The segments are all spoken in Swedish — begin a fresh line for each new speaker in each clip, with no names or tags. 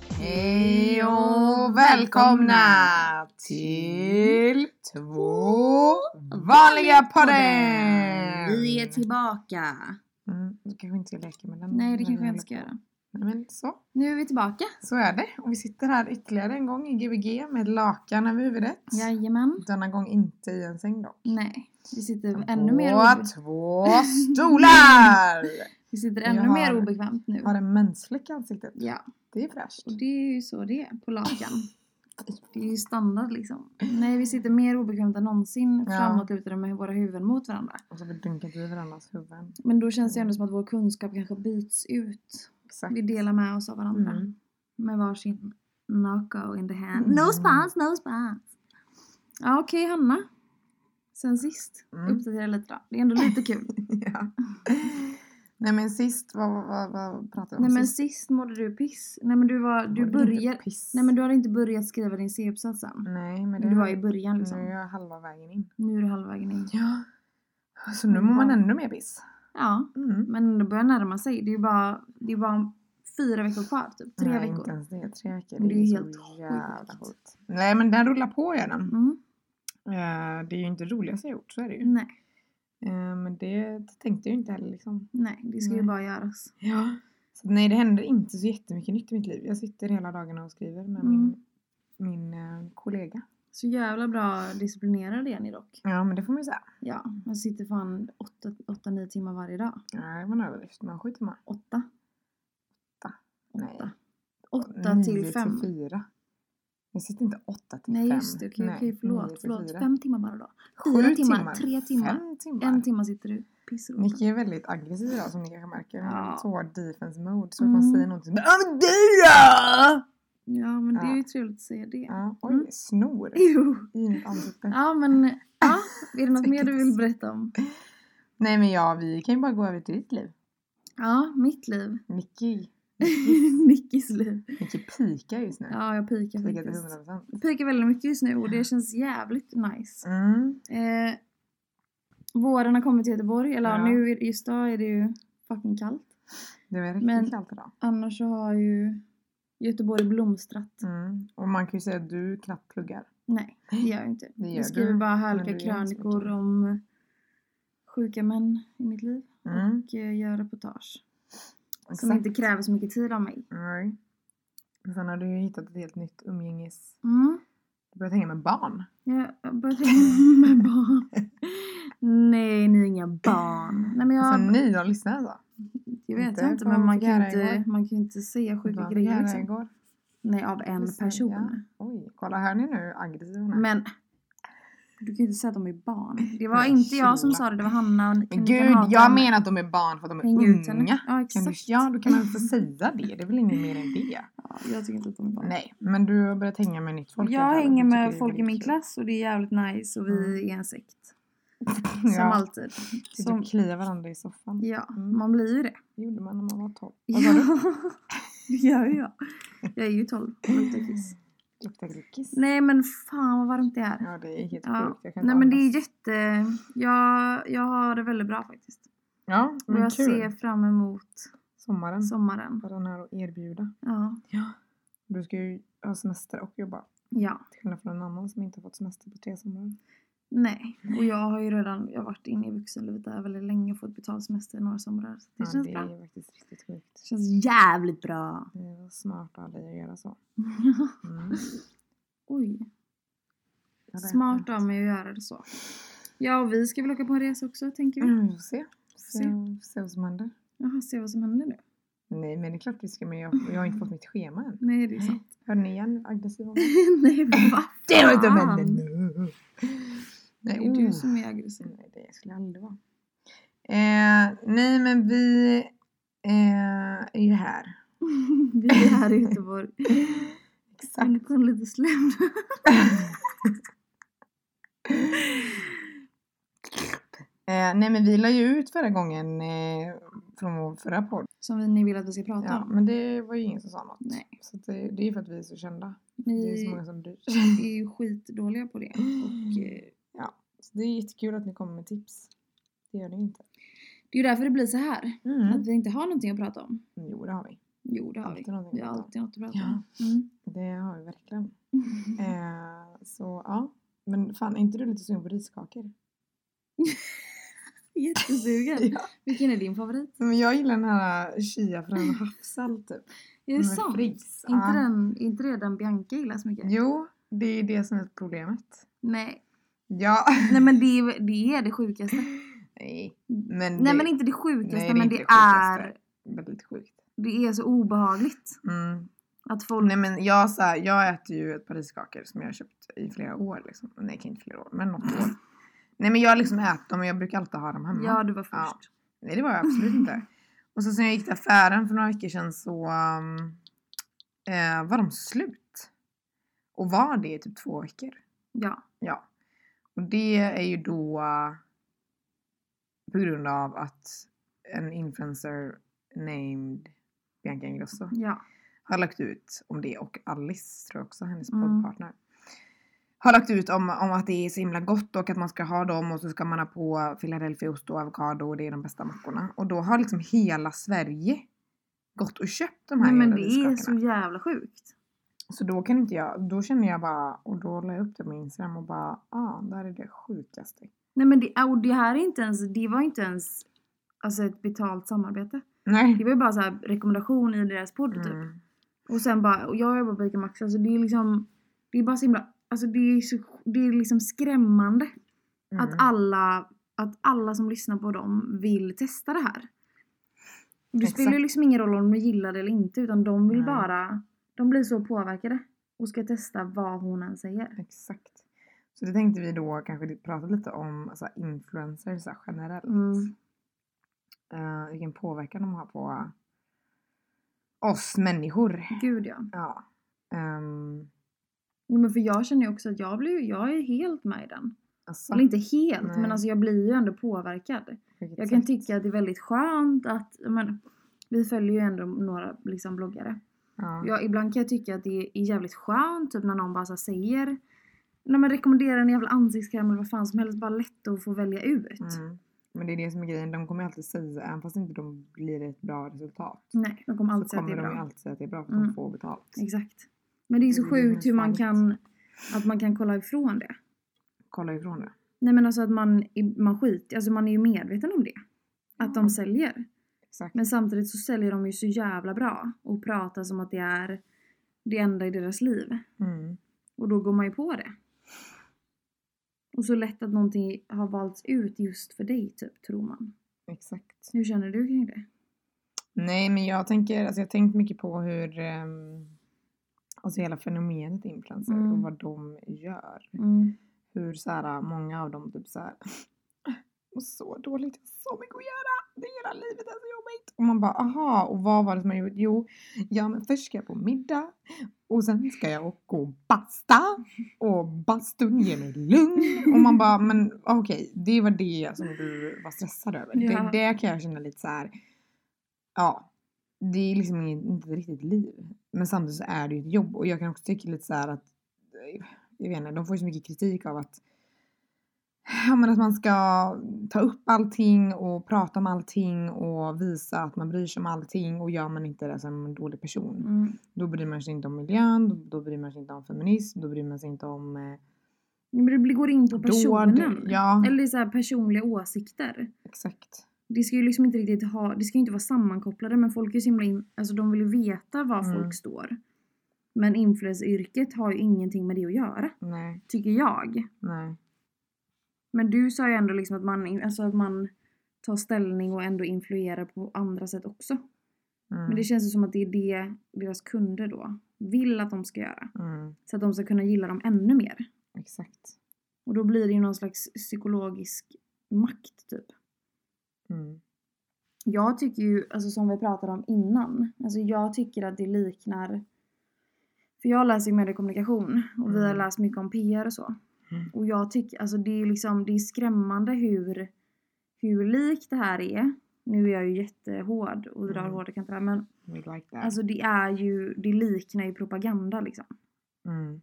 Hej och välkomna till två vanliga podden!
Vi är tillbaka.
Mm, du kanske inte ska leka med den.
Nej, det
Men
kanske jag
eller-
inte ska göra.
Nej, men så.
Nu är vi tillbaka.
Så är det. Och vi sitter här ytterligare en gång i Gbg med lakan över huvudet.
Jajamän.
Denna gång inte i en säng dock.
Nej, vi sitter ännu
På
mer, obe-
två stolar!
vi sitter
vi
ännu
har-
mer obekvämt nu.
Har en mänsklig i ansiktet.
Ja,
Det är fräscht.
och det är ju så det är på lakan. Det är ju standard liksom. Nej, vi sitter mer obekvämt än någonsin
Ja.
framåtlutade med våra huvuden mot varandra.
Och så har vi dunkat i varandras huvuden.
Men då känns det ju ändå som att vår kunskap kanske byts ut.
Exakt.
Vi delar med oss av varandra.
Mm.
Med varsin Naco in the hand.
Mm.
No spans, no spans. Ja okej Hanna. Sen sist.
Mm.
Uppdatera lite då. Det är ändå lite kul.
Ja. Nej men sist, vad, vad, vad, vad pratade vi om
Nej men
sist?
sist mådde du piss. Nej men du var, du
Var det inte
började.
Piss.
Nej men du hade inte börjat skriva din C-uppsats än.
Nej, men det
Du var i början
Nu är
liksom.
jag Mm. halva vägen in.
Nu är du halvvägen in.
Ja. Så nu mår man
Ja.
ännu mer piss.
Ja.
Mm.
Men det börjar närma sig. Det är ju bara, det är bara fyra veckor kvar typ. Tre
Nej,
veckor.
inte ens det. Tre veckor.
Men det är
så
helt
jävla
sjukt.
sjukt. Nej men den rullar på gör den.
Mm.
Eh, Det är ju inte det roligaste jag gjort, så är det ju.
Nej,
Eh, Men det tänkte jag ju inte heller liksom.
nej. Det ska ju
Nej.
bara göras.
Ja. Så att nej det händer inte så jättemycket nytt i mitt liv. Jag sitter hela dagarna och skriver med
Mm.
min, min eh, kollega.
Så jävla bra disciplinerad är ni dock.
Ja men det får man ju säga.
Ja, man sitter fan 8-9 timmar varje dag.
Nej det var en överdrift men sju timmar.
8?
Åtta. Nej.
8
Nio
till
till
5.
fyra. Jag sitter inte åtta till
Nej
fem.
just det, okej,
Nej,
okej
nio
förlåt.
till
förlåt.
fyra.
5 timmar bara då.
Sju
Fyra timmar, tre timmar,
Fem timmar.
En timme sitter du pissar upp.
Nicky är väldigt aggressiv idag som ni kanske märker.
Ja.
Ja. Så defense mode. Så
Mm.
man säger någonting. Ja men du då!
Ja men det är
Ja.
ju trevligt att säga det.
Ja, oj,
Mm.
snor
Jo.
i mitt ansikte.
Ja men, ja. Är det något mer du vill berätta om?
Nej men ja, vi kan ju bara gå över till ditt liv.
Ja, mitt liv.
Nicky.
Nickis liv.
Nicky pikar just nu.
Ja, jag pikar
Pikar till
faktiskt.
100%.
Jag pikar väldigt mycket just nu och det känns jävligt nice.
Mm.
Eh, våren har kommit till Göteborg, eller ja.
Ja.
nu är- just idag är det ju fucking kallt.
Det var riktigt
Men-
kallt idag.
Annars så har ju Göteborg blomstrat.
Mm. Och man kan ju säga att du knappt pluggar.
Nej, det gör jag inte.
Det gör
jag skriver
du,
bara
men
härliga
du gör inte så
krönikor
mycket.
om eh, sjuka män i mitt liv
Mm.
och eh, gör reportage. Som
Exakt.
inte kräver så mycket tid av mig.
Nej. Men sen har du ju hittat ett helt nytt umgänges...
Mm.
Du börjar hänga med barn.
Jag börjar tänka med barn. Nej, ni är inga barn. Nej men
Ja. Alltså
jag,
ni, de lyssnar alltså.
jag vet
inte
inte, inte
vad
men
man
man
fick
kan
höra
ju inte,
igår.
man kan ju inte säga sjuka
Vad
grejer
gärna
liksom.
igår.
Nej, av en
Lyssna, ja.
person.
Oj, kolla hör ni nu hur aggressiv hon är?
Men du kan ju inte säga att de är barn. Det var
Nej,
inte jag som
chilla.
sa det, det var Hanna. Ni kan-
Men
ni kan
gud,
hata
jag
henne.
menar att de är barn för att de är
Häng ut henne.
unga.
Mm, Ja,
Kan du,
exakt.
ja, då kan man få säga det. Det är väl inget mer än det.
Ja, jag tycker inte att de är barn.
Nej, men du har börjat hänga med nytt folk. i
jag
alla fall och
hänger
du tycker det
med
är
folk i
väldigt
min
kul.
klass och det är jävligt nice och vi
Mm.
är en sekt.
Ja,
Som alltid.
Sitter
Som,
och kliar varandra i soffan.
ja,
Mm.
man blir ju det.
Det gjorde man när man var 12. Vad sa
Ja,
du?
det gör ju jag. Jag är ju 12 och luktar kiss.
Luktar gluckis.
Nej men fan vad varmt det är.
Ja, det är helt
Ja.
sjukt. Jag kan inte
Nej men det
andas.
är jätte... Jag, jag har det väldigt bra faktiskt.
Ja,
Och
men
jag
kul.
ser fram emot
Sommaren.
sommaren.
Vad den har att erbjuda.
Ja.
Ja. Du ska ju ha semester och jobba.
ja.
Till skillnad från en annan som inte har fått semester på tre somrar.
Nej. Och jag har ju redan jag har varit inne i vuxenlivet där väldigt länge och fått betald semester i några somrar. Så det
ja,
känns
det
bra.
är ju faktiskt riktigt
Det
sjukt.
känns jävligt bra.
Det var smart av dig att göra så. Mm.
Oj.
Jag vet
Smart
inte.
av mig att göra det så. Ja, och vi ska väl åka på en resa också, tänker vi.
Mm, vi får se. Se, se vad som händer.
Jaha, se vad som händer nu.
Nej men det är klart vi ska men jag, jag har inte fått mitt schema än.
Nej, det är sant.
Hör ni igen hur aggressiv hon var?
Nej, men vad
Det var inte
fan?
männen nu!
Det
Nej,
är du
oh.
som är aggressiv.
Nej det skulle jag aldrig vara. Eh, nej men vi eh, är ju här. Mm.
vi är här i Göteborg.
Exakt.
Men du kom lite slemd.
Eh, nej men vi la ju ut förra gången eh, från vår förra podd.
Som vi, ni vill att vi ska prata
Ja,
om.
men det var ju ingen som sa något.
Nej.
Så att det, det är ju för att vi är så kända. Det är
Ni
så många Mm. som bryr sig.
är ju skitdåliga på det. Och, eh,
Så det är jättekul att ni kommer med tips. Det gör ni ju inte. Mm.
det är ju därför det blir så här. Att vi inte har någonting att prata om.
Jo, det har vi.
Jo, det har vi.
Alltid någonting
Vi har
att prata om.
alltid något att prata om. Mm.
Det har vi verkligen. Eh, så ja. Men fan, är inte du lite sugen på riskakor?
Jättesugen.
Ja.
Vilken är din favorit?
Men jag gillar den här eh, chiafrön och havssalt typ.
Är det
Med
sant?
frizz.
Inte,
Ja.
den, inte det den Bianca gillar så mycket?
Jo, det är det som är problemet.
Nej.
Ja.
Nej men det är det, är det sjukaste.
Nej. Men det
Nej men inte det sjukaste
Nej, det är
men
inte
det,
det sjukaste.
är
är väldigt sjukt.
det är så obehagligt
Mm.
att folk
Nej men jag, så här, jag äter ju ett par riskakor som jag har köpt i flera år. Liksom. Nej kanske inte flera år men något år. Nej men jag har liksom ätit dem och jag brukar alltid ha dem hemma.
Ja, du var
Mm. Ja.
först.
Nej det var jag absolut inte. Och så sen jag gick till affären för några veckor sedan så um, eh, var de slut. Och var det i typ två veckor.
Ja.
Ja. Och det är ju då eh, på grund av att en influencer named Bianca Ingrosso
Ja.
har lagt ut om det och Alice tror jag också, hennes
Mm.
poddpartner. Har lagt ut om, om att det är så himla gott och att man ska ha dem och så ska man ha på Philadelphiaost och avokado och det är de bästa mackorna. Och då har liksom hela Sverige gått och köpt de här
Nej, men
jävla
det är så
riskakorna.
jävla sjukt.
Så då kan inte jag, då känner jag bara, och då la jag upp det på Instagram och bara, ah, det här är det sjukaste.
Nej men det, och det här är inte ens, det var inte ens alltså ett betalt samarbete. Det
Nej.
var ju bara så här rekommendation i deras podd typ.
Mm.
Och sen bara, och jag jobbar på ICA Maxi, alltså det är liksom, det är bara så himla, alltså det är så, det är liksom skrämmande
Mm.
att alla, att alla som lyssnar på dem vill testa det här. Det
Exakt.
spelar ju liksom ingen roll om de gillar det eller inte utan de vill
Nej.
bara, de blir så påverkade och ska testa vad hon än säger.
Exakt. Så det tänkte vi då kanske prata lite om alltså, influencers så här, generellt.
Mm.
eh, vilken påverkan de har på oss människor.
Gud ja.
Ja. Ehm,
Jo, men för jag känner ju också att jag blir jag är helt med i den.
alltså,
Eller inte helt,
Nej.
men alltså jag blir ju ändå påverkad.
vilket
Jag kan
sätt.
tycka att det är väldigt skönt att, jag menar, vi följer ju ändå några liksom, bloggare.
ja.
Jag, ibland kan jag tycka att det är jävligt skönt typ när någon bara så här säger, när man rekommenderar en jävla ansiktskräm eller vad fan som helst, bara lätt att få välja ut.
mm. Men det är det som är grejen, de kommer ju alltid säga, även fast inte de blir ett bra resultat.
Nej, de kommer alltid
så
säga att det
kommer
är
de
bra.
ju alltid säga att det är bra för
Mm.
de får betalt.
Exakt. Men det är så
Det är ju
sjukt hur man
sant.
kan, att man kan kolla ifrån det.
Kolla ifrån det.
Nej men alltså att man, man skit, alltså man är ju medveten om det. Att de
Ja.
säljer.
Exakt.
Men samtidigt så säljer de ju så jävla bra och pratar som att det är det enda i deras liv.
Mm.
Och då går man ju på det. Och så lätt att någonting har valts ut just för dig typ, tror man.
Exakt.
Hur känner du kring det?
Nej men jag tänker, alltså jag har tänkt mycket på hur ehm, Alltså hela fenomenet influencer
Mm.
och vad de gör. Hur så här, äh, många av dem typ så här. Och så dåligt, jag har så mycket att göra. Det är hela livet är så jobbigt. Och man bara aha, och vad var det som jag gjort? Jo, ja men först ska jag på middag. Och sen ska jag och gå och basta. Och bastun ger mig lugn. Och man bara men okej, det var det som du var stressad över.
Ja.
Det, det kan jag känna lite så här. Ja, det är liksom inget, inte ett riktigt liv. Men samtidigt så är det ju ett jobb. Och jag kan också tycka lite så här att jag vet inte, de får ju så mycket kritik av att Ja men att man ska ta upp allting och prata om allting och visa att man bryr sig om allting och gör man inte det så är man en dålig person.
Mm.
Då bryr man sig inte om miljön, då, då bryr man sig inte om feminism, då bryr man sig inte om... Eh,
Men det blir- går in på
Dåd,
personen.
ja.
Eller så här personliga åsikter.
exakt.
Det ska ju liksom inte riktigt ha, det ska ju inte vara sammankopplade men folk är ju så himla in, alltså de vill ju veta var
Mm.
folk står. Men influenceryrket har ju ingenting med det att göra,
Nej,
tycker jag.
nej.
Men du sa ju ändå liksom att man, alltså att man tar ställning och ändå influerar på andra sätt också.
Mm,
Men det känns ju som att det är det deras kunder då vill att de ska göra.
mm,
Så att de ska kunna gilla dem ännu mer.
exakt.
Och då blir det ju någon slags psykologisk makt typ.
Mm,
Jag tycker ju, alltså som vi pratade om innan, alltså jag tycker att det liknar... För jag läser ju mediekommunikation och vi har
Mm.
läst mycket om PR och så.
Mm.
Och jag tycker, alltså det är liksom, det är skrämmande hur, hur likt det här är. Nu är jag ju jättehård och drar
Mm.
hårda kanter här, men
we like that.
alltså det är ju, det liknar ju propaganda liksom.
mm,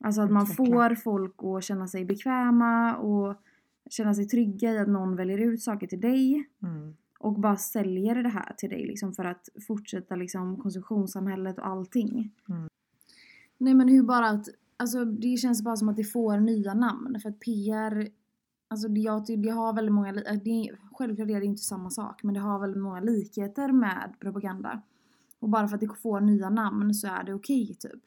Alltså att man
Utveckla.
får folk att känna sig bekväma och känna sig trygga i att någon väljer ut saker till dig.
mm,
och bara säljer det här till dig liksom för att fortsätta liksom konsumtionssamhället och allting.
Mm.
Nej men hur bara att, alltså det känns bara som att det får nya namn för att PR, alltså det, jag, ty- det har väldigt många, li- äh, det, är- självklart är det inte samma sak men det har väldigt många likheter med propaganda. Och bara för att det får nya namn så är det okej typ.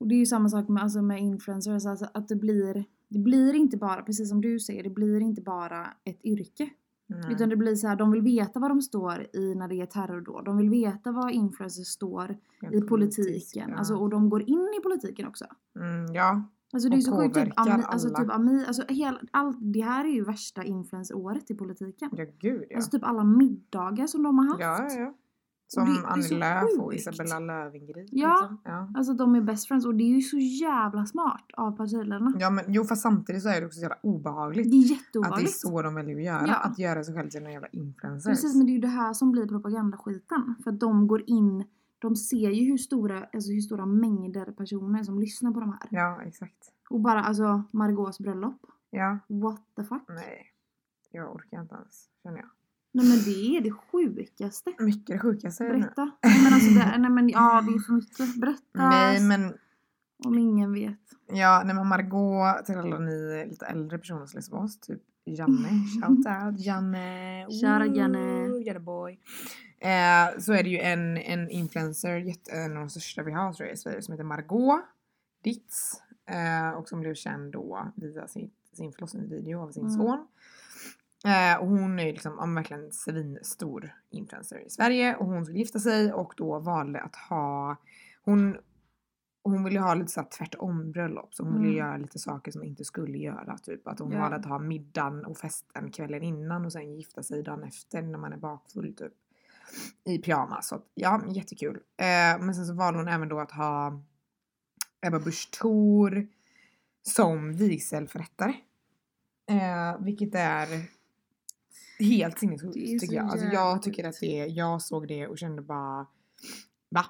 Och det är ju samma sak med, alltså med influencers, alltså att det blir, det blir inte bara, precis som du säger, det blir inte bara ett yrke.
Nej.
Utan det blir så här, de vill veta vad de står i när det är terrordåd. De vill veta vad influencers står i
Politisk,
politiken.
ja.
Alltså, och de går in i politiken också.
Mm, ja.
Alltså det är
Och
ju så sjukt. Typ,
påverkar
Ami, alltså,
alla.
typ, Ami, alltså, hela, allt, det här är ju värsta influenceråret i politiken.
Ja, gud ja.
Alltså typ alla middagar som de har
ja,
haft.
ja, ja. Som
det är
Annie
så
Lööf och
sjukt.
Isabella Löwengrip.
Ja.
Liksom. ja.
Alltså de är best friends och det är ju så jävla smart av partiledarna.
Ja men jo fast samtidigt så är det också så jävla obehagligt.
Det är
Att det är
jätteobehagligt.
så de väljer att göra.
Ja.
Att göra sig själv till en jävla influencer.
Precis, men det är ju det här som blir propagandaskiten. För att de går in, de ser ju hur stora, alltså hur stora mängder personer som lyssnar på de här.
Ja exakt.
Och bara alltså Margaux bröllop.
Ja.
What the fuck?
Nej. Jag orkar inte ens känner jag.
Nej, men det är det sjukaste.
Mycket det sjukaste är det nu.
Berätta. Nej men alltså det, nej men ja det är för mycket. Berätta.
Nej men
Om ingen vet.
ja, nej men Margot till alla ni lite äldre personer som lyssnar på oss. Typ Janne. Shout out Janne.
Mm. Shout out, Janne.
Ooh, Janne boy. Eh, så är det ju en, en influencer, jätte, en av de största vi har tror jag i Sverige som heter Margot Ditz. Eh, och som blev känd då via sin, sin förlossningsvideo av sin
Mm.
son. Eh, och hon är ju liksom ja, men verkligen svinstor influencer i Sverige och hon skulle gifta sig och då valde att ha hon hon ville ha lite så här tvärtom bröllop så hon ville
Mm.
göra lite saker som hon inte skulle göra. Typ att hon
Ja.
valde att ha middagen och festen kvällen innan och sen gifta sig dagen efter när man är bakfull typ. I pyjamas. Så att, ja, men jättekul. Eh, men sen så valde hon även då att ha Ebba Busch Thor som vigselförrättare. Eh, vilket är helt
Det är
sinnessjukt
så
tycker jag. Alltså,
jävla
jag tycker att det är, jag såg det och kände bara va?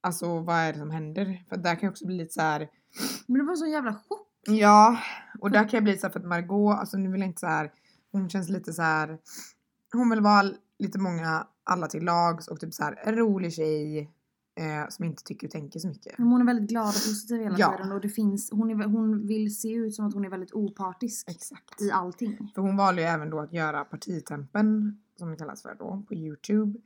Alltså vad är det som händer? För att där kan jag också bli lite så här.
Men det var en sån jävla chock.
Ja, och där kan jag bli så här för att Margot, alltså nu vill jag inte så här. Hon känns lite så här. Hon vill vara lite många, alla till lags och typ så här en rolig tjej eh, som inte tycker och tänker så mycket.
Men hon är väldigt glad och positiv hela
Ja.
tiden och det finns, hon, är, hon vill se ut som att hon är väldigt opartisk
Exakt.
i allting.
För hon valde ju även då att göra partitempen, som det kallas för då, på Youtube.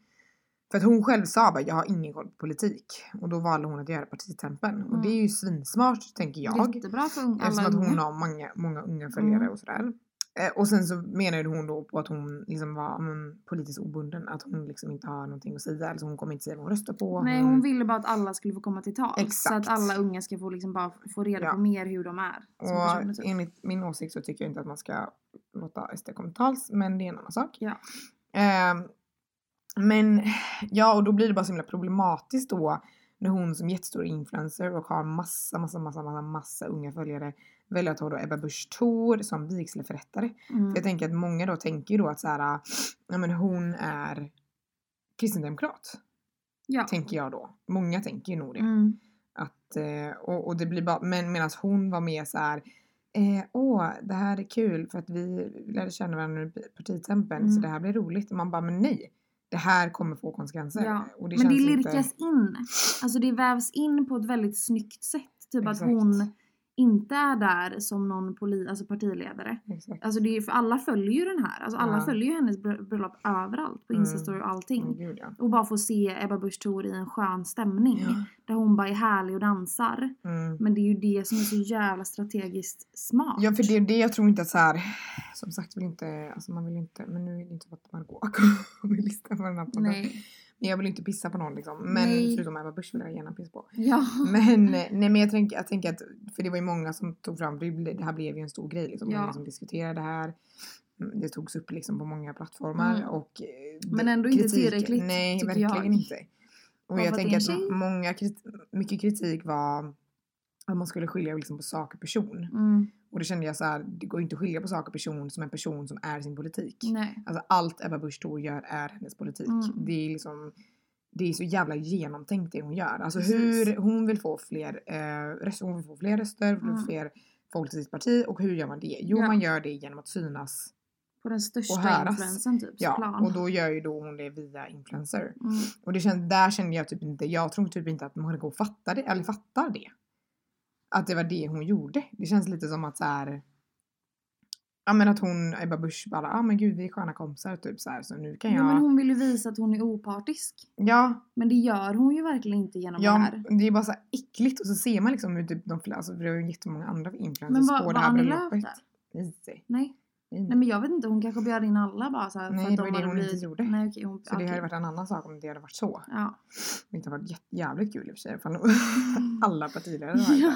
För att hon själv sa bara, jag har ingen koll på politik. Och då valde hon att göra partitempen. Och
Mm.
det är ju svinsmart, tänker jag.
Jättebra för un- alla
Eftersom att hon
unga.
har många, många unga följare
Mm.
och sådär. Eh, Och sen så menade hon då på att hon liksom var mm, politiskt obunden. Att hon liksom inte har någonting att säga. Alltså hon kommer inte säga vad hon röstar på.
Nej hon ville bara att alla skulle få komma till tals. Så
Exakt.
att alla unga ska få, liksom bara få reda
Ja.
på mer hur de är. som personer,
Och
typ.
enligt min åsikt så tycker jag inte att man ska låta SD komma till tals, men det är en annan sak.
Ja.
Ehm, men ja, och då blir det bara så himla problematiskt då när hon som jättestor influencer och har massa, massa, massa, massa, massa unga följare väljer att ha då Ebba Busch Thor som vigselförrättare.
Mm.
För jag tänker att många då tänker ju då att så här, ja men hon är kristendemokrat,
Ja.
tänker jag då. Många tänker ju nog det.
Mm.
Att, eh, och, och det blir bara, men medan hon var mer så här. Eh, åh, det här är kul för att vi lärde känna varandra i partitempen så
Mm.
det här blir roligt. Och man bara, men nej. Det här kommer få konsekvenser.
Ja,
Och
men det
känns inte-
lirkas in. Alltså det vävs in på ett väldigt snyggt sätt. Typ att
Exakt.
hon inte är där som någon poli, alltså partiledare.
Exakt.
Alltså det är, för alla följer ju den här. Alltså alla
Ja.
följer ju hennes br- bröllop överallt. På
Mm.
Instastory och allting.
Mm, gud ja.
Och bara få se Ebba Busch Thor i en skön stämning. Där hon bara är härlig och dansar.
Mm.
Men det är ju det som är så jävla strategiskt smart.
Ja för det är det jag tror inte att så här, som sagt vill inte, alltså man vill inte, men nu är det inte så att man går och vill lista på den här podden.
Nej.
Men jag vill inte pissa på någon liksom. Men
Nej.
förutom Ebba Busch vill jag gärna pissa på.
Ja.
Men, eh, nej, men jag, tänker, jag tänker att, för det var ju många som tog fram, det blev- det här blev ju en stor grej liksom.
Ja.
Många som diskuterade det här. Mm, Det togs upp liksom på många plattformar
Mm.
och... eh,
Men
det-
ändå inte tillräckligt,
Nej,
tycker
verkligen
jag.
inte. Och jag
Bara för att det är
tänker
en
att
tjej.
många, krit- mycket kritik var att man skulle skilja liksom på sak och person.
Mm.
Och det kände jag så här, det går inte att skilja på sak och person som en person som är sin politik.
Nej.
Alltså allt Ebba Busch Thor gör är hennes politik.
Mm.
Det är liksom det är så jävla genomtänkt det hon gör. Alltså
Precis.
hur hon vill få fler eh, röster, hon vill få fler röster, hon vill få
Mm.
fler folk till sitt parti och hur gör man det? Jo
Ja.
man gör det genom att synas
På den
Och
största
höras.
influensen typ.
Ja,
plan.
och då gör ju då hon det via influencer.
Mm.
Och det kände, där kände jag typ inte, jag tror typ inte att Margot fattar det, eller fattar det. Att det var det hon gjorde. Det känns lite som att så här. Ja men att hon, Ebba Busch bara, ja ah, men gud vi är sköna kompisar typ så här så nu kan
Jo,
jag.
men hon vill ju visa att hon är opartisk.
Ja,
Men det gör hon ju verkligen inte genom det
ja
här.
det är bara så här äckligt och så ser man liksom hur typ de flesta, alltså för det var ju jättemånga andra
Men
influencers
var,
på
var
det här
Annie Lööf
bröllopet.
där?
Nej, nej,
Nej. Nej
nej.
men jag vet inte, hon kanske bjöd in alla bara så här,
Nej,
för att
det
de
var ju det
hade
hon inte
blivit...
gjorde.
Nej okej, hon...
Så det hade
okej.
varit en annan sak om det hade varit så.
Ja.
Det hade varit jätte- jävligt kul i och för sig. Ifall alla partiledare var där.
ja.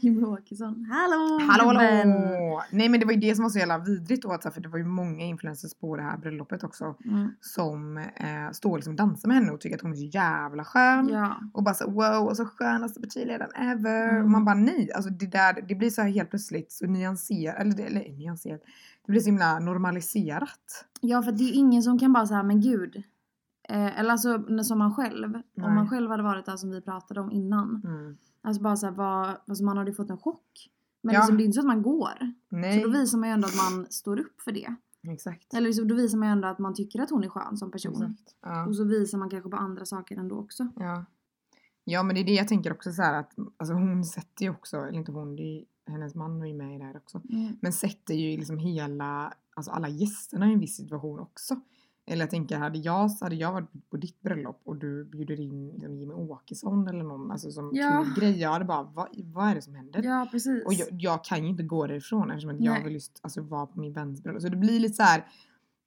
Jimmie Åkesson. Hallå!
Hallå
gubben!
hallå! Nej men det var ju det som var så jävla vidrigt då att så här, för det var ju många influencers på det här bröllopet också
Mm.
som eh, står och liksom dansar med henne och tycker att hon är så jävla skön.
Ja.
Och bara så wow och så skönaste partiledaren ever.
Mm.
Och man bara nej, alltså det där det blir så här helt plötsligt så nyanserat, eller, det- eller nyanserat, det blir så himla normaliserat.
Ja, för det är ju ingen som kan bara säga men gud. Eh, eller alltså när- som man själv.
Nej.
Om man själv hade varit där som vi pratade om innan.
Mm.
Alltså bara såhär, vad, alltså man hade ju fått en chock. Men
Ja.
liksom, det är inte så att man går.
Nej,
Så då visar man ju ändå att man står upp för det.
exakt.
Eller liksom, då visar man ju ändå att man tycker att hon är skön som person.
exakt. Ja.
Och så visar man kanske på andra saker ändå också.
Ja. ja, men det är det jag tänker också så här att alltså hon sätter ju också, eller inte hon, det är, ju- hennes man är ju med i det här också. Men sätter ju liksom hela, alltså alla gästerna i en viss situation också. Eller jag tänker, hade jag, hade jag varit på ditt bröllop och du bjuder in liksom Jimmy Åkesson eller någon alltså som
Ja.
kul grej, jag hade bara, vad, vad är det som händer?
Ja, precis.
Och jag, jag kan ju inte gå därifrån eftersom att jag
Nej.
vill just alltså, vara på min väns bröllop. Så det blir lite så här,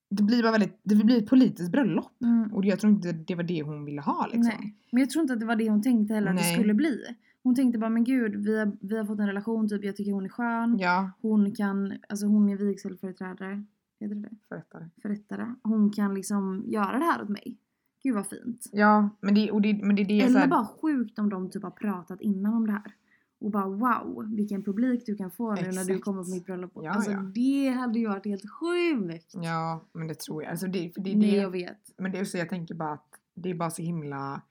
det blir bara väldigt, det blir ett politiskt bröllop.
Mm.
Och jag tror inte det var det hon ville ha liksom.
Nej. Men jag tror inte att det var det hon tänkte heller att
Nej.
det skulle bli. Hon tänkte bara men gud, vi har, vi har fått en relation typ, jag tycker hon är skön.
Ja,
Hon kan, alltså hon är vigselföreträdare, heter det det?
förrättare.
Förrättare. Hon kan liksom göra det här åt mig. Gud vad fint.
Ja, men det, och det, men det är det så
Eller
här,
bara sjukt om de typ har pratat innan om det här. Och bara wow, vilken publik du kan få nu när du
Exakt.
kommer på mitt bröllop.
Ja,
alltså
ja.
det hade ju varit helt sjukt.
Ja, men det tror jag. Alltså det, för det, är
Nej
det,
jag vet.
Men det är så jag tänker bara att det är bara så himla...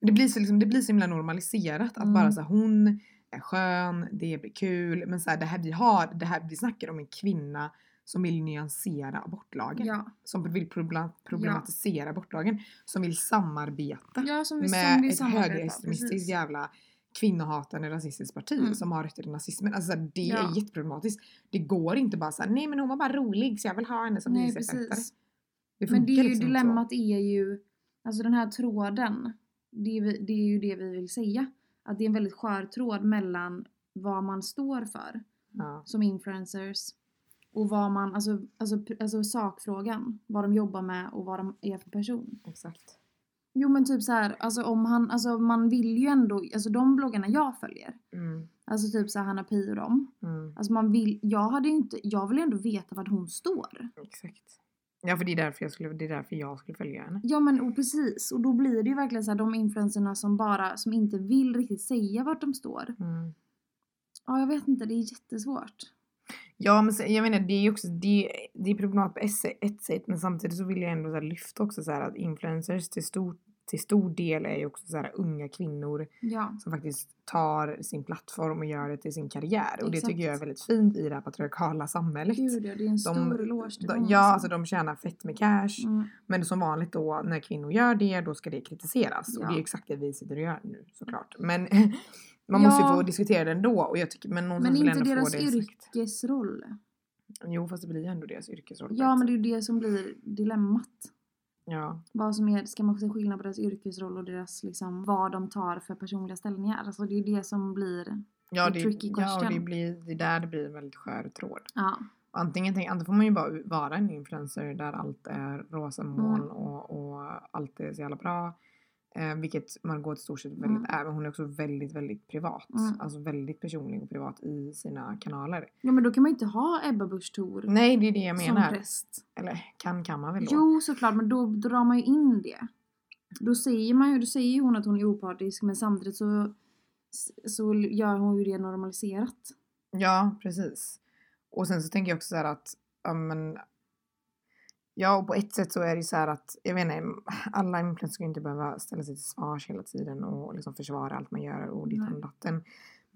Det blir så, liksom, det blir så himla normaliserat att
Mm.
bara så här, hon är skön, det blir kul. Men så här, det här vi har, det här vi snackar om en kvinna som vill nyansera abortlagen.
Ja.
Som vill probla- problematisera abortlagen. Som vill samarbeta
ja som vi, som
med
vi
ett
samarbetade,
högerextremistiskt
precis.
jävla kvinnohatande rasistiskt parti
Mm.
som har rötter i nazismen. Alltså så här, det
Ja.
är jätteproblematiskt. Det går inte bara såhär, nej men hon var bara rolig så jag vill ha henne som
Nej
vigselförrättare.
precis.
Det
Men det är
funkar
ju
liksom inte så.
dilemmat är ju, alltså den här tråden, det är, vi- det är ju det vi vill säga. Att det är en väldigt skör tråd mellan vad man står för
Ja.
som influencers och vad man, alltså, alltså, alltså sakfrågan, vad de jobbar med och vad de är för person.
Exakt.
Jo men typ så här, alltså om han, alltså man vill ju ändå, alltså de bloggarna jag följer,
Mm,
alltså typ så här Hanna Pi och dem,
mm,
alltså man vill, jag hade ju inte, jag vill ju ändå veta vart hon står.
exakt. Ja för det är därför jag skulle, det är därför jag skulle följa henne.
Ja men och precis, och då blir det ju verkligen så här de influencerna som bara, som inte vill riktigt säga vart de står.
Mm.
Ja jag vet inte, det är jättesvårt.
Ja men sen, jag menar det är ju också, det, det är problematiskt på ett sä- ett sätt men samtidigt så vill jag ändå så här lyfta också så här att influencers till stor, till stor del är ju också så här unga kvinnor
Ja.
som faktiskt tar sin plattform och gör det till sin karriär. Och det tycker jag är
Exakt.
väldigt fint i det här patriarkala samhället.
Gud ja, det är en stor eloge till
de,
dem,
ja, alltså de tjänar fett med cash.
Mm.
Men som vanligt då när kvinnor gör det, då ska det kritiseras. Och det
Ja.
är exakt det vi sitter och gör nu såklart. Men man måste ju
Ja.
få diskutera det ändå. Och jag tycker, men
Men
någonstans
det är
vill
inte
jag ändå få
deras
det sagt.
yrkesroll.
Jo fast det blir ju ändå deras yrkesroll.
Ja men det är ju det som blir dilemmat.
ja.
Vad som är, ska man se skillnad på deras yrkesroll och deras liksom vad de tar för personliga ställningar. Alltså det är ju det som blir,
Ja,
Det är
det,
tricky
ja och det,
question.
blir, det är där det blir en väldigt skör tråd.
ja.
Och antingen, tänk, antingen får man ju bara vara en influencer där allt är rosa moln
Mm.
och, och allt är så jävla bra. Eh, vilket Margot i stort sett väldigt
Mm.
är. Men hon är också väldigt, väldigt privat.
Mm.
Alltså väldigt personlig och privat i sina kanaler.
Ja men då kan man ju inte ha Ebba Busch Thor
Nej, det är det jag
Mm. som
menar.
präst.
Eller kan kan man väl då?
Jo såklart men då drar man ju in det. Då säger man ju, då säger ju hon att hon är opartisk men samtidigt så, så gör hon ju det normaliserat.
Ja, precis. Och sen så tänker jag också så här att, ja men. Ja, och på ett sätt så är det ju så här att, jag vet inte, alla influencers ska ju inte behöva ställa sig till svars hela tiden och liksom försvara allt man gör och ditt
Nej.
och datten. Men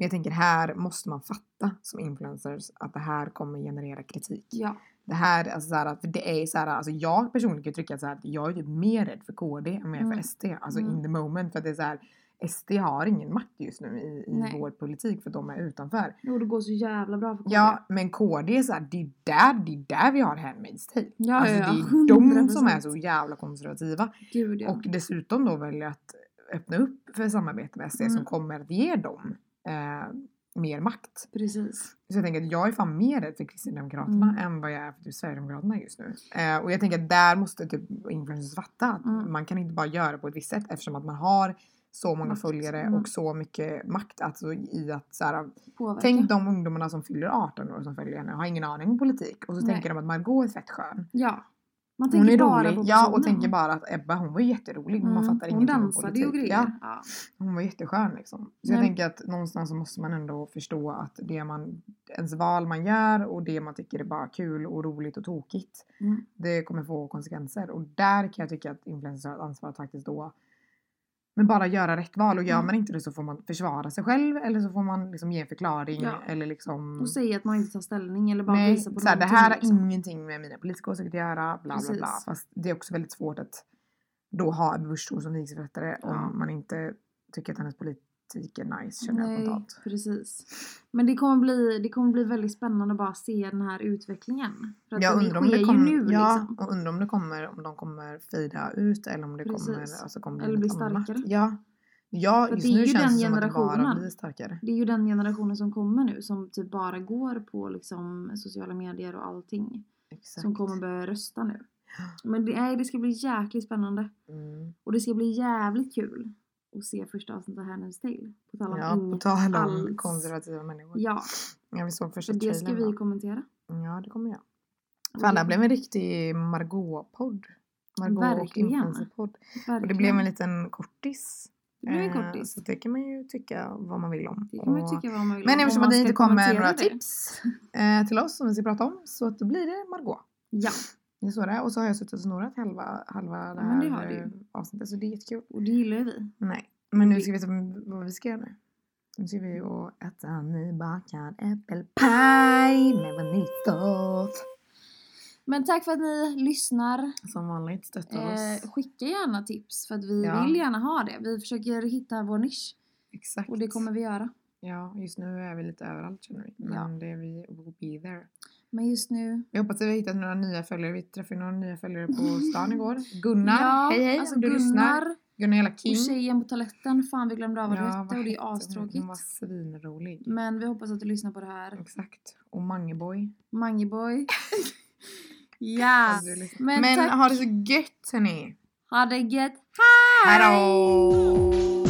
jag tänker här måste man fatta som influencers att det här kommer generera kritik.
Ja.
Det här, alltså så här, för det är så här, alltså jag personligen kan tycka så här att jag är typ mer rädd för KD än mer
Mm.
för SD. Alltså
Mm.
in the moment för att det är så här, SD har ingen makt just nu i, i
Nej.
vår politik för de är utanför.
Jo, det går så jävla bra för KD.
Ja, men KD är så här, det är där, det är där vi har Handmaid's Tale.
ja,
Alltså det
ja,
är de som är
100%.
så jävla konservativa.
Gud, ja.
Och dessutom då väljer att öppna upp för samarbete med SD som
Mm.
kommer att ge dem eh, mer makt.
Precis.
Så jag tänker att jag är fan mer rädd för Kristdemokraterna
Mm.
än vad jag är för typ Sverigedemokraterna just nu. Eh, och jag tänker att där måste typ influencers fatta att
Mm.
man kan inte bara göra på ett visst sätt eftersom att man har så många
Makt.
följare
Mm.
och så mycket makt alltså, i att så här,
Påverka.
Tänk de ungdomarna som fyller 18 år som följer henne och har ingen aning om politik och så
Nej.
tänker de att Margot är fett skön.
Ja. Man
Hon
tänker
är
bara
rolig.
på
Ja och
personen.
tänker bara att Ebba hon var ju jätterolig men man
Mm.
fattar
Hon
ingenting om politik.
dansade ju och grejer.
Ja.
Ja.
Hon var jätteskön liksom. Så jag
Nej.
tänker att någonstans så måste man ändå förstå att det man, ens val man gör och det man tycker är bara kul och roligt och tokigt.
Mm.
Det kommer få konsekvenser och där kan jag tycka att influencers har ett ansvar att faktiskt då men bara göra rätt val och gör
Mm.
man inte det så får man försvara sig själv eller så får man liksom ge en förklaring
Ja.
eller liksom
Och säga att man inte tar ställning eller bara
Nej,
visar på
såhär, det
någonting,
här har
liksom.
ingenting med mina politiska åsikter att göra. Bla, bla, bla.
Precis.
Fast det är också väldigt svårt att då ha en Busch Thor som vigselförrättare
Ja.
om man inte tycker att hennes politik är nice känner jag spontant.
precis. Men det kommer, bli, det kommer bli väldigt spännande att bara se den här utvecklingen. För att
Jag
det
undrar om
sker
det kommer,
ju nu
ja,
liksom.
och undrar om det kommer, om de kommer fejda ut eller om det
Precis.
kommer, alltså kommer bli
Eller
något
bli
annat.
starkare.
Ja. Ja,
För
just
det är
nu
ju
känns
den
det som att det bara
generationen.
blir starkare.
Det är ju den generationen som kommer nu som typ bara går på liksom sociala medier och allting.
Exakt.
Som kommer börja rösta nu. Men det, nej, det ska bli jäkligt spännande.
Mm.
Och det ska bli jävligt kul att se första avsnittet av Handmaid's Tale. På tal om
Ja, på
inget
tal om
alls.
konservativa människor. Ja.
Ja,
vi såg första
för det ska
trailern,
vi
va?
kommentera.
Ja, det kommer jag.
Och
Fan, det här blev en riktig Margot-podd. Margot och
Verkligen.
influencer-podd. Och det
verkligen-
blev en liten kortis.
det blev en
Eh,
kortis.
Så det kan man ju tycka vad man vill om.
Det kan man
Och-
ju tycka vad man vill
Men
om, om
eftersom
man
att det
ska
inte kommer
kommentera
några
det.
tips eh, till oss som vi ska prata om så att då blir det Margot.
Ja,
Det är så det är. Och så har jag suttit och snorat halva, halva det
men
här
det har du ju.
eh, avsnittet så det är jättekul.
och det gillar ju vi.
Nej, men nu ska vi se vad vi ska göra nu. Nu ska vi och äta nybakad äppelpaj med vaniljsås.
Men tack för att ni lyssnar.
Som vanligt stöttar oss.
Eh, skicka gärna tips för att vi
Ja.
vill gärna ha det. Vi försöker hitta vår nisch
Exakt.
och det kommer vi göra.
Ja, just nu är vi lite överallt känner vi. Men
Ja.
det är vi will be there.
Men just nu...
Jag hoppas att vi har hittat några nya följare. Vi träffade några nya följare på stan igår. Gunnar,
Mm. ja,
hej hej
alltså
om du
Gunnar
lyssnar. Gunnar hela
och
King.
tjejen på toaletten. Fan vi glömde av vad
Ja,
ja, hette och det
hette
är
hon?
astråkigt.
Hon var svinrolig.
Men vi hoppas att du lyssnar på det här.
Exakt. Och Mangeboy.
Mangeboy. ja.
Hoppas du lyssnar.
Men,
Men
tack.
ha det så gött hörni.
Ha det gött.
Hejdå!